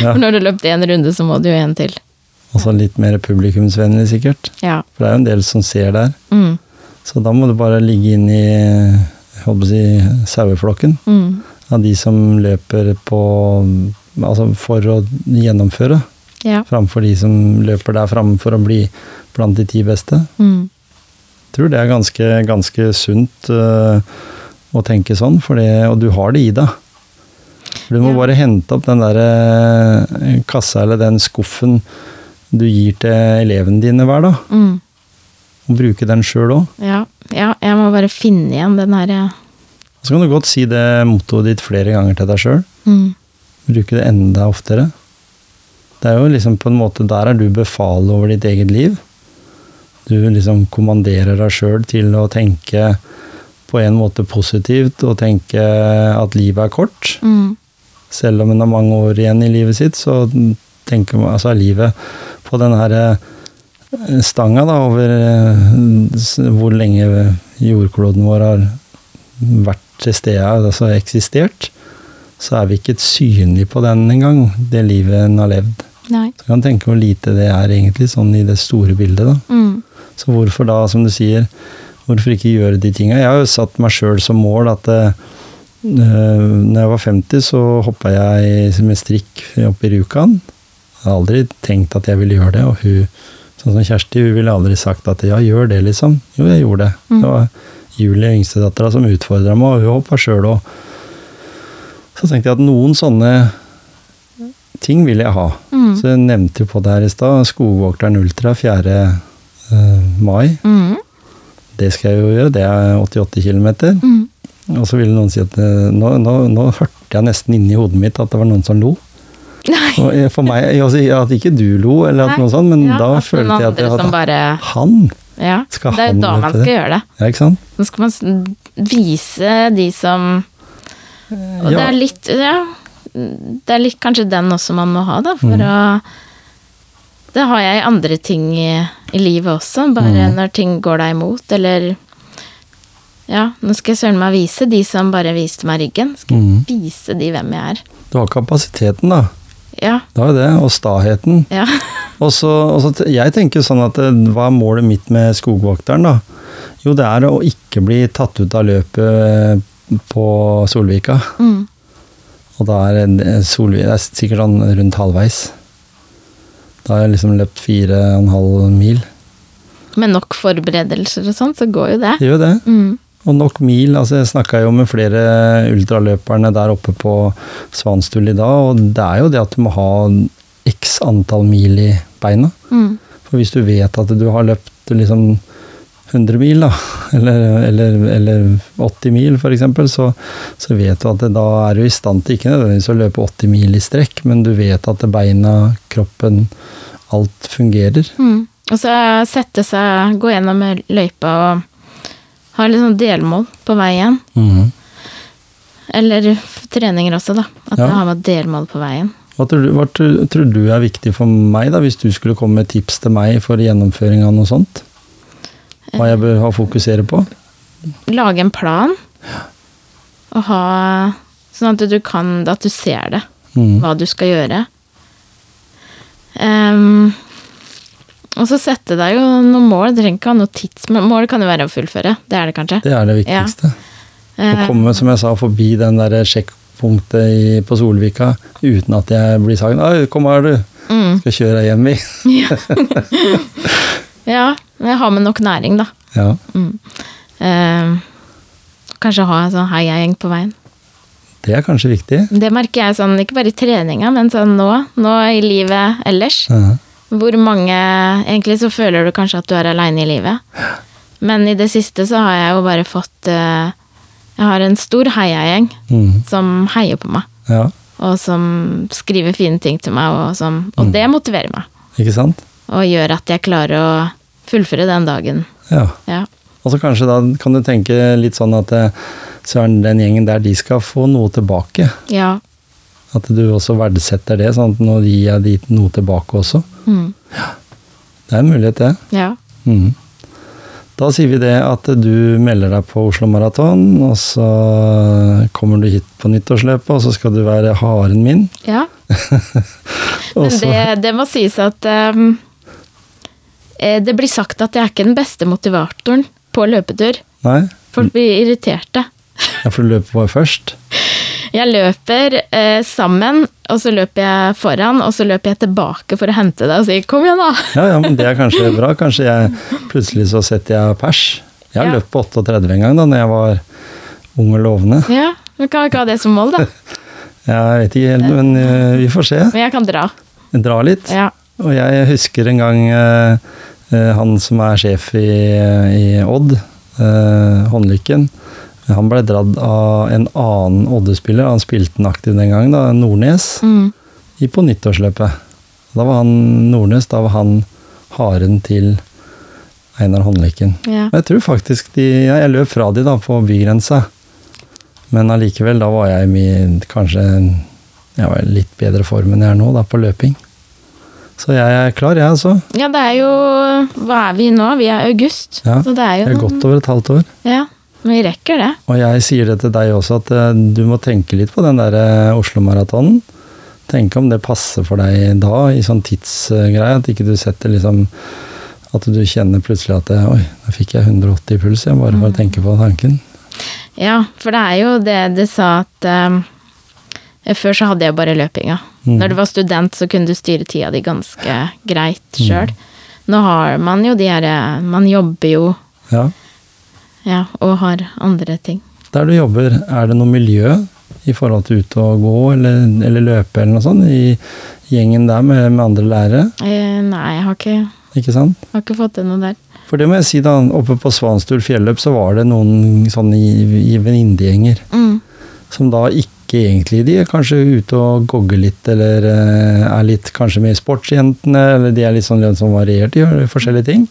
A: Ja.
B: for når du løpte én runde, så må du jo en til.
A: Og så Altså litt mer publikumsvennlig, sikkert.
B: Ja.
A: For det er jo en del som ser der.
B: Mm.
A: Så da må du bare ligge inn i jeg håper å si, saueflokken
B: Mm.
A: av de som løper på Altså for å gjennomføre,
B: Ja.
A: framfor de som løper der framme for å bli blant de ti beste.
B: Mm.
A: tror det er ganske, ganske sunt øh, å tenke sånn, for det, og du har det i deg. For Du må
B: Ja.
A: bare hente opp den der øh, kassa eller den skuffen du gir til elevene dine hver dag,
B: Mm.
A: og bruke den sjøl òg.
B: Ja. ja, jeg må bare finne igjen den herre
A: Så kan du godt si det mottoet ditt flere ganger til deg sjøl.
B: mm.
A: Bruke det enda oftere. Det er jo liksom på en måte Der er du befalet over ditt eget liv. du liksom kommanderer deg sjøl til å tenke på en måte positivt og tenke at livet er kort.
B: Mm.
A: Selv om en har mange år igjen i livet sitt, så tenker man, altså er livet på den her eh, stanga da, over eh, s- hvor lenge jordkloden vår har vært til stede, altså eksistert, så er vi ikke synlige på den engang, det livet en har levd.
B: Nei.
A: Så kan tenke hvor lite det er egentlig, sånn i det store bildet. da.
B: Mm.
A: Så hvorfor da, som du sier, hvorfor ikke gjøre de tinga? Jeg har jo satt meg sjøl som mål at eh, øh, når jeg var 50, så hoppa jeg med strikk opp i Rjukan. Jeg har aldri tenkt at jeg ville gjøre det, og hun, sånn som Kjersti, hun ville aldri sagt at ja, gjør det, liksom. Jo, jeg gjorde det.
B: Mm.
A: Det var Julie, yngstedattera, som utfordra meg, og hun hoppa sjøl òg. Så tenkte jeg at noen sånne ting vil jeg ha.
B: Mm.
A: Så jeg nevnte jo på det her i stad, Skogvokteren Ultra 4. eh, mai.
B: Mm.
A: Det skal jeg jo gjøre, det er 88 km.
B: Mm. (laughs)
A: Og så ville noen si at eh, nå, nå, nå hørte jeg nesten inni hodet mitt at det var noen som lo.
B: Nei.
A: Og eh, for meg, jeg, altså, At ikke du lo, eller at noe sånt, men
B: Ja,
A: da
B: at noen
A: følte jeg at
B: andre
A: jeg
B: som
A: hadde
B: bare,
A: Han!
B: ja.
A: Skal
B: Det er
A: han
B: jo da
A: vite
B: man
A: det?
B: skal gjøre det.
A: Ja, ikke sant?
B: Nå skal man s- vise de som Og det
A: Ja.
B: er litt Ja. Det er litt kanskje den også man må ha, da, for
A: Mm.
B: å Det har jeg i andre ting i, i livet også, bare
A: Mm.
B: når ting går deg imot, eller Ja, nå skal jeg søren meg vise de som bare viste meg ryggen. Skal jeg
A: Mm.
B: vise de hvem jeg er.
A: Du har kapasiteten, da.
B: Ja.
A: Det var jo det. Og staheten.
B: Ja.
A: Og så, og så, te- jeg tenker jo sånn at eh, hva er målet mitt med skogvokteren, da? Jo, det er å ikke bli tatt ut av løpet eh, på Solvika.
B: Mm.
A: Og da er en- en Solvik Det er sikkert sånn rundt halvveis. Da har jeg liksom løpt fire og en halv mil.
B: (laughs) Med nok forberedelser og sånn, så går jo det.
A: Det gjør jo det.
B: Mm.
A: Og nok mil. altså Jeg snakka jo med flere ultraløperne der oppe på Svanstul i dag, og det er jo det at du må ha x antall mil i beina.
B: Mm.
A: For hvis du vet at du har løpt liksom 100 mil, da, (laughs) eller, eller, eller 80 mil f.eks., så, så vet du at det, da er du i stand til ikke nødvendigvis å løpe 80 mil i strekk, men du vet at beina, kroppen, alt fungerer.
B: Mm. Og så sette seg, gå gjennom løypa og ha litt sånn delmål på veien. Eller f- treninger også, da. At
A: Ja.
B: jeg har med delmål på veien.
A: Hva, tror du, hva tror, tror du er viktig for meg, da, hvis du skulle komme med tips til meg for gjennomføring av noe sånt? Hva jeg bør ha fokusere på?
B: Lage en plan. Og ha Sånn at du kan At du ser det.
A: Mhm.
B: Hva du skal gjøre. Ehm, og så sette deg jo noen mål. Du trenger ikke ha noe tidsmål. Mål kan jo være å fullføre. Det er det kanskje.
A: Det er det viktigste. Å
B: Eh,
A: komme, som jeg sa, forbi den der sjekkpunktet i, på Solvika uten at jeg blir sagt «Oi, 'Kom her, du.
B: mm.
A: Skal kjøre deg hjem, vi.'
B: Ja, men ha med nok næring, da.
A: Ja.
B: Eh, kanskje ha en sånn heiagjeng på veien.
A: Det er kanskje viktig.
B: Det merker jeg sånn, ikke bare i treninga, men sånn nå, nå i livet ellers.
A: Ja.
B: Hvor mange Egentlig så føler du kanskje at du er aleine i livet. Men i det siste så har jeg jo bare fått eh, Jeg har en stor heiagjeng
A: Mhm.
B: som heier på meg.
A: ja.
B: Og som skriver fine ting til meg, og, som, og det motiverer meg.
A: Ikke sant?
B: Og gjør at jeg klarer å fullføre den dagen.
A: Ja.
B: Ja.
A: Og så kanskje da kan du tenke litt sånn at eh, søren, den gjengen der, de skal få noe tilbake.
B: ja.
A: At du også verdsetter det, sånn at nå gir jeg dit noe tilbake også.
B: Mm.
A: Det er en mulighet, det.
B: ja.
A: Mhm. Da sier vi det at du melder deg på Oslo Maraton, og så kommer du hit på nyttårsløpet, og så skal du være haren min.
B: Ja,
A: Og
B: men
A: så-
B: det, det må sies at ehm, eh, det blir sagt at jeg er ikke den beste motivatoren på løpetur.
A: Nei?
B: Folk blir irriterte.
A: Ja, for du løper bare først.
B: Jeg løper eh, sammen, og så løper jeg foran, og så løper jeg tilbake for å hente deg og si 'kom igjen, da'. (laughs)
A: Ja, ja, men det er kanskje bra. Kanskje jeg plutselig så setter jeg pers. Jeg har
B: Ja.
A: løpt på 38 en gang da når jeg var ung og lovende.
B: Ja, men kan jeg ikke ha det som mål, da.
A: Jeg vet ikke helt, men eh, vi får se.
B: Men jeg kan dra.
A: Dra litt.
B: Ja.
A: Og jeg husker en gang eh, eh, han som er sjef i, i Odd, eh, Håndlykken, han ble dratt av en annen Odde-spiller, han spilte den aktiv den gangen, da, Nordnes,
B: Mm.
A: i på nyttårsløpet. Da var han Nordnes, da var han haren til Einar Håndlykken.
B: Ja.
A: Men Jeg tror faktisk de ja, Jeg løp fra de da på bygrensa. Men allikevel, da var jeg i min- kanskje jeg var i litt bedre form enn jeg er nå, da, på løping. Så jeg er klar, jeg, altså.
B: ja, det er jo Hva er vi nå? Vi er i august.
A: Ja,
B: så det er jo
A: Jeg er
B: noen-
A: godt over et halvt år.
B: Ja, men vi rekker det.
A: Og jeg sier det til deg også, at eh, du må tenke litt på den der eh, Oslo-maratonen. Tenke om det passer for deg da, i sånn tidsgreie. At ikke du setter liksom At du kjenner plutselig at eh, Oi, da fikk jeg 180 i puls, jeg, bare for å tenke på tanken.
B: Ja, for det er jo det du sa at ehm, Før så hadde jeg bare løpinga.
A: Mm.
B: Når du var student, så kunne du styre tida di ganske greit
A: Mm.
B: sjøl. Nå har man jo de her eh, Man jobber jo
A: Ja.
B: ja, og har andre ting.
A: Der du jobber, er det noe miljø i forhold til ute og gå eller, eller løpe eller noe sånt? I gjengen der med, med andre lærere,
B: Eh, nei, jeg har ikke,
A: ikke sant?
B: har ikke fått til noe der.
A: For det må jeg si, da. Oppe på Svanstul fjelløp så var det noen sånne i- i venninnegjenger.
B: Mm.
A: som da ikke egentlig de er kanskje ute og gogger litt, eller eh, er litt kanskje med i sportsjentene, eller de er litt sånn, litt sånn variert, de gjør forskjellige ting.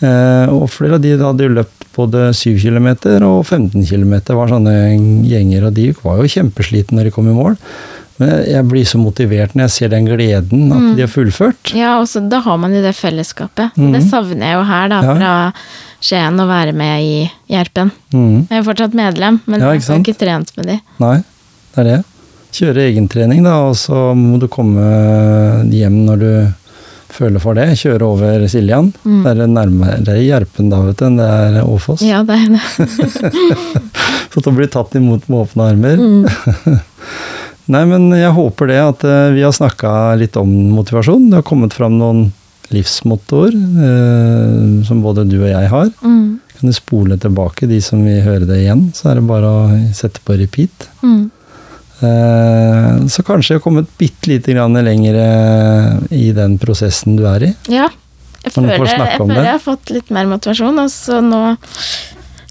A: Eh, og flere av de da hadde jo løpt både 7 km og 15 km, var sånne gjenger, og de var jo kjempeslitne når de kom i mål. Men jeg- jeg blir så motivert når jeg ser den gleden at de har fullført.
B: Ja, og så da har man jo det fellesskapet. Så Det
A: Mhm.
B: savner jeg jo her, da,
A: Ja.
B: fra Skien, å være med i Gjerpen.
A: Mm.
B: Jeg er jo fortsatt medlem, men
A: Ja, ikke
B: jeg har
A: sant?
B: ikke trent med de.
A: Nei, det er det. Kjøre egentrening, da, og så må du komme hjem når du føler for det. Kjøre over Siljan.
B: Mm.
A: Det er nærmere i Gjerpen da, vet du, enn det er Åfoss.
B: Ja, det er det.
A: Så det blir tatt imot med åpne armer.
B: Mm.
A: (laughs) Nei, men jeg håper det at eh, vi har snakka litt om motivasjon. Det har kommet fram noen livsmottoer eh, som både du og jeg har. Kan
B: Mm.
A: du spole tilbake, de som vil høre det igjen, så er det bare å sette på repeat.
B: Mm.
A: Eh, Så kanskje jeg har kommet bitte lite grann lenger eh, i den prosessen du er i.
B: Ja. Jeg
A: Men du
B: føler,
A: får
B: jeg,
A: snakke om
B: føler
A: det.
B: jeg har fått litt mer motivasjon, og så nå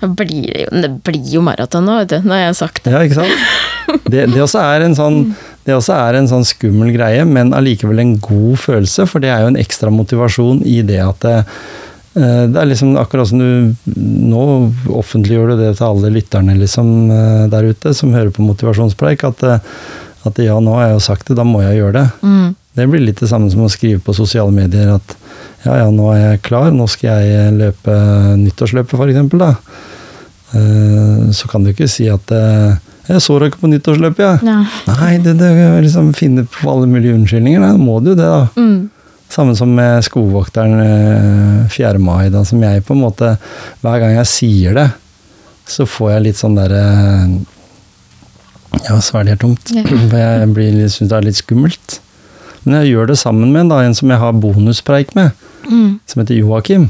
B: nå blir det, jo, det blir jo maraton nå, vet du. Nå har jeg sagt det.
A: Ja, ikke sant? Det, det, også er en sånn, det også er en sånn skummel greie, men allikevel en god følelse, for det er jo en ekstra motivasjon i det at det, eh, det er liksom akkurat som du Nå offentliggjør du det til alle lytterne liksom, eh, der ute som hører på motivasjonspreik, at, eh, at ja, nå har jeg jo sagt det, da må jeg gjøre det.
B: Mm.
A: Det blir litt det samme som å skrive på sosiale medier at ja, ja, nå er jeg klar, nå skal jeg løpe nyttårsløpet, for eksempel, da. Eh, Så kan du ikke si at eh, jeg så dere på nyttårsløpet, ja.
B: Ja.
A: Nei, det, det liksom finne på alle mulige unnskyldninger. Nei, må du det, da.
B: Mm.
A: Samme som med skogvokteren eh, 4. mai, da, som jeg på en måte Hver gang jeg sier det, så får jeg litt sånn derre Ja, svelger tungt.
B: Ja.
A: (clears throat) For jeg blir litt- syns det er litt skummelt. Men jeg gjør det sammen med en, da, en som jeg har bonuspreik med,
B: Mm.
A: som heter Joakim.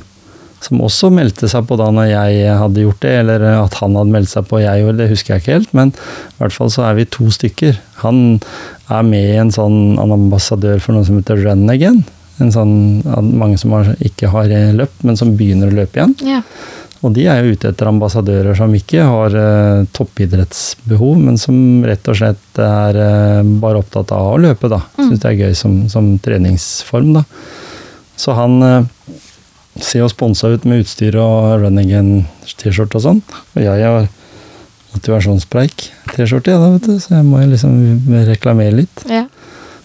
A: Som også meldte seg på da når jeg hadde gjort det, eller at han hadde meldt seg på og jeg gjorde det, husker jeg ikke helt, men i hvert fall så er vi to stykker. Han er med i en sånn en ambassadør for noe som heter Run Again. En sånn, at mange som har, ikke har løpt, men som begynner å løpe igjen.
B: Ja.
A: Og de er jo ute etter ambassadører som ikke har eh, toppidrettsbehov, men som rett og slett er eh, bare opptatt av å løpe, da.
B: Mm.
A: Syns det er gøy som, som treningsform, da. Så han eh, ser jo sponsa ut med utstyr og running T-skjorte og sånn. Og jeg har motivasjonspreik-T-skjorte, ja, da, vet du, så jeg må jo liksom reklamere litt.
B: ja.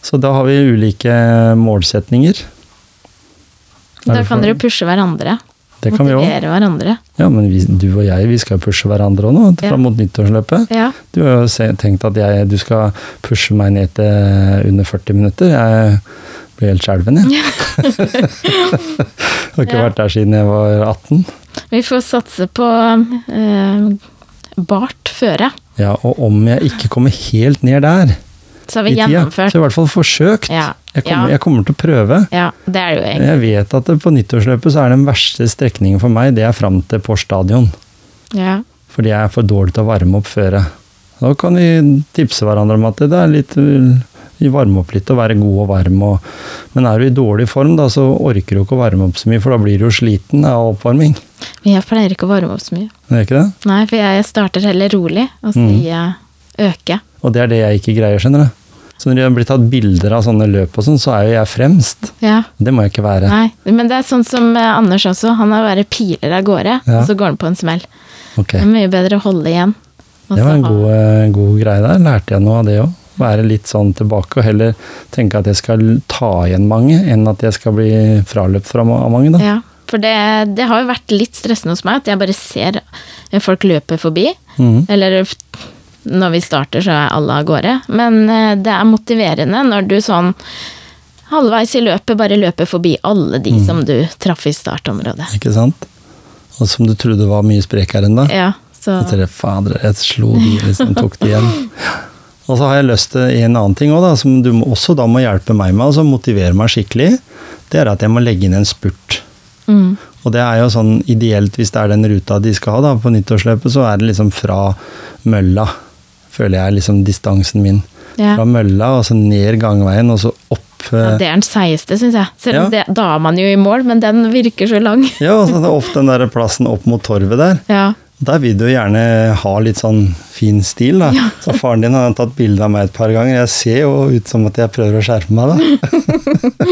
A: Så da har vi ulike målsetninger. Er
B: Da
A: det
B: kan
A: for-
B: dere pushe hverandre.
A: Det kan vi òg.
B: Motivere hverandre.
A: Ja, men vi, du og jeg, vi skal jo pushe hverandre òg nå,
B: Ja.
A: fram mot nyttårsløpet.
B: Ja.
A: Du har jo se- tenkt at jeg, du skal pushe meg ned til eh, under 40 minutter. Jeg blir helt skjelven, jeg. (laughs) har ikke
B: Ja.
A: vært der siden jeg var 18.
B: Vi får satse på eh, bart føre.
A: Ja, og om jeg ikke kommer helt ned der
B: Så har
A: i
B: vi
A: tida, så
B: gjennomført.
A: i hvert fall forsøkt.
B: Ja,
A: Jeg,
B: ja.
A: kommer, jeg kommer til å prøve.
B: Ja, det er det jo egentlig.
A: Jeg vet at det på nyttårsløpet så er den verste strekningen for meg, det er fram til Pål stadion.
B: Ja.
A: fordi jeg er for dårlig til å varme opp før jeg. Da kan vi tipse hverandre om at det er litt vi varmer opp litt og være god og varm. Og, men er du i dårlig form, da, så orker du ikke å varme opp så mye, for da blir du jo sliten av oppvarming.
B: Men Jeg pleier ikke å varme opp så mye.
A: Er det ikke det?
B: Nei, for jeg starter heller rolig, og så
A: Mm.
B: gir jeg øke.
A: Og det er det jeg ikke greier, skjønner du. Så når det blir tatt bilder av sånne løp og sånn, så er jo jeg fremst.
B: Ja.
A: Det må jeg ikke være.
B: Nei, men det er sånn som eh, Anders også. Han er bare piler av gårde,
A: Ja.
B: og så går han på en smell.
A: Ok.
B: Det er mye bedre å holde igjen. Altså, og
A: Det var
B: så
A: en
B: ha-
A: god, eh, god greie der. Lærte jeg noe av det òg. Være litt sånn tilbake, og heller tenke at jeg skal ta igjen mange, enn at jeg skal bli fraløpt fra ma- av mange. da.
B: Ja, for det, det har jo vært litt stressende hos meg at jeg bare ser eh, folk løpe forbi.
A: Mhm.
B: Eller f- når vi starter, så er alle av gårde. Men eh, det er motiverende når du sånn halvveis i løpet bare løper forbi alle de
A: Mhm.
B: som du traff i startområdet.
A: Ikke sant? Og som du trodde var mye sprekere enn deg.
B: Ja, så
A: Så tenkte jeg, fader, jeg slo de,
B: (laughs)
A: liksom, tok de igjen. Og så har jeg lyst til en annen ting også, da, som du må, også da må hjelpe meg med, altså motivere meg skikkelig. Det er at jeg må legge inn en spurt.
B: mm,
A: Og det er jo sånn ideelt hvis det er den ruta de skal ha da, på nyttårsløpet, så er det liksom fra mølla, føler jeg er liksom distansen min.
B: ja.
A: Fra mølla og så ned gangveien og så opp.
B: Ja,
A: eh,
B: det er den seigeste, syns jeg. Selv om
A: Ja.
B: det, da er man jo i mål, men den virker så lang. (laughs)
A: Ja, og så opp den der plassen opp mot torvet der.
B: Ja,
A: Der vil du jo gjerne ha litt sånn fin stil, da. (laughs) Så faren din har tatt bilde av meg et par ganger. Jeg ser jo ut som at jeg prøver å skjerpe meg,
B: (laughs)
A: da.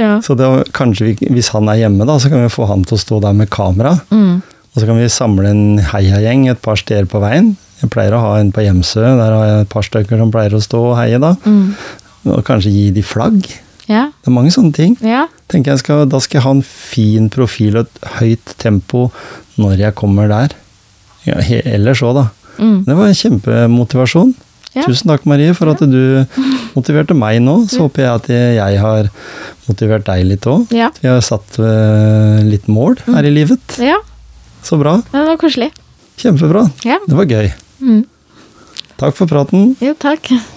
B: ja.
A: Så det, var- kanskje vi, hvis han er hjemme, da, så kan vi få han til å stå der med kamera.
B: Mm.
A: Og så kan vi samle en heiagjeng et par steder på veien. Jeg pleier å ha en på Hjemsø, der har jeg et par stykker som pleier å stå og heie, da.
B: Mm.
A: Og kanskje gi de flagg.
B: Ja.
A: Det er mange sånne ting.
B: ja.
A: Tenker jeg skal, Da skal jeg ha en fin profil og et høyt tempo når jeg kommer der. Ja, he, ellers òg, da.
B: Mm.
A: Det var en kjempemotivasjon.
B: Ja.
A: Tusen takk, Marie, for at du motiverte meg nå. Så håper jeg at jeg har motivert deg litt òg.
B: Ja.
A: Vi har satt eh, litt mål
B: Mm.
A: her i livet.
B: ja.
A: Så bra.
B: Det var koselig.
A: Kjempebra.
B: Ja.
A: Det var gøy.
B: Mm.
A: Takk for praten.
B: Jo, takk.